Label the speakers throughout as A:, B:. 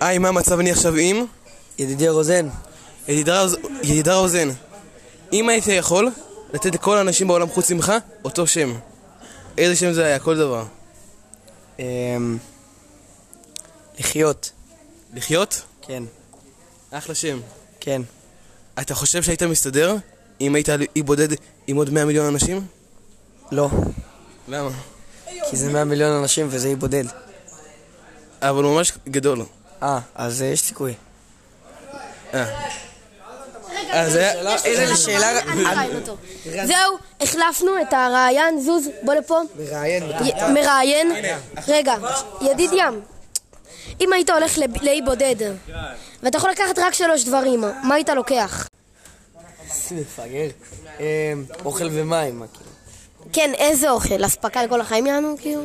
A: היי, מה המצב אני עכשיו עם?
B: ידידי רוזן,
A: ידידה רוז- ידידה רוזן. אם היית יכול לתת לכל האנשים בעולם חוץ ממך אותו שם. איזה שם זה היה? כל דבר.
B: אמ... לחיות.
A: לחיות?
B: כן,
A: אחלה שם.
B: כן.
A: אתה חושב שהיית מסתדר אם היית אי בודד עם עוד 100 מיליון אנשים?
B: לא,
A: למה?
B: כי זה 100 מיליון אנשים וזה אי בודד.
A: אבל הוא ממש גדול.
B: אה, אז אה, יש סיכוי.
A: אה,
C: רגע,
A: אז היה...
B: איזה שאלה...
C: אני ראיין אותו. זהו, החלפנו את הראיין, זוז, בוא לפה.
B: מראיין.
C: י- מראיין. רגע, ידיד ים, אם היית הולך לב- לאי בודד, ואתה יכול לקחת רק שלוש דברים, מה היית לוקח?
B: מפגר. אמ, אוכל ומים, מה כאילו.
C: כן, איזה אוכל? אספקה לכל החיים יענו, כאילו?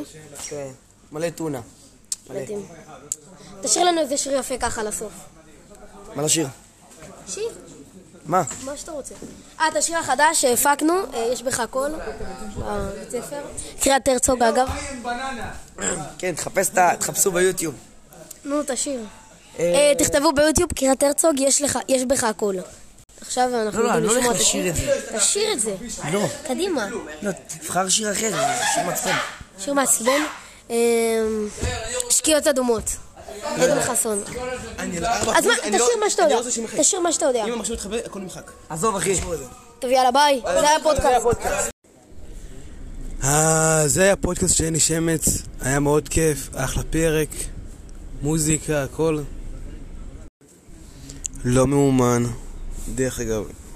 B: כן. מלא טונה. מלא.
C: מדהים. תשאיר לנו איזה שיר יפה ככה לסוף.
B: מה לשיר?
C: שיר,
B: מה?
C: מה שאתה רוצה. אה, את השיר החדש שהפקנו, אה, יש בך הכל, בבית ספר. קריאת הרצוג אגב.
B: כן, תחפש את ה... תחפשו ביוטיוב.
C: נו, תשאיר.
B: אה,
C: אה, תכתבו ביוטיוב קריאת הרצוג, יש לך- יש בך הכל. עכשיו אנחנו
B: לא,
C: יודעים
B: אני לא
C: לשמוע
B: הולך לשיר את
C: זה. תשאיר את זה.
B: לא.
C: קדימה.
B: לא, תבחר שיר אחר, זה שיר מצפון.
C: שיר מעצבן. אה, שקיעות אדומות.
B: אה,
C: עדן חסון. אז מה,
B: לא-
C: תשאיר מה שאתה יודע. תשאיר מה שאתה יודע.
A: אם המחשב מתחבא, הכל נמחק.
B: עזוב, אחי.
C: טוב, יאללה, ביי. זה היה פודקאסט.
A: אה, זה היה פודקאסט של עיני שמץ, היה מאוד כיף, אחלה פרק, מוזיקה, הכל. לא מאומן, דרך אגב.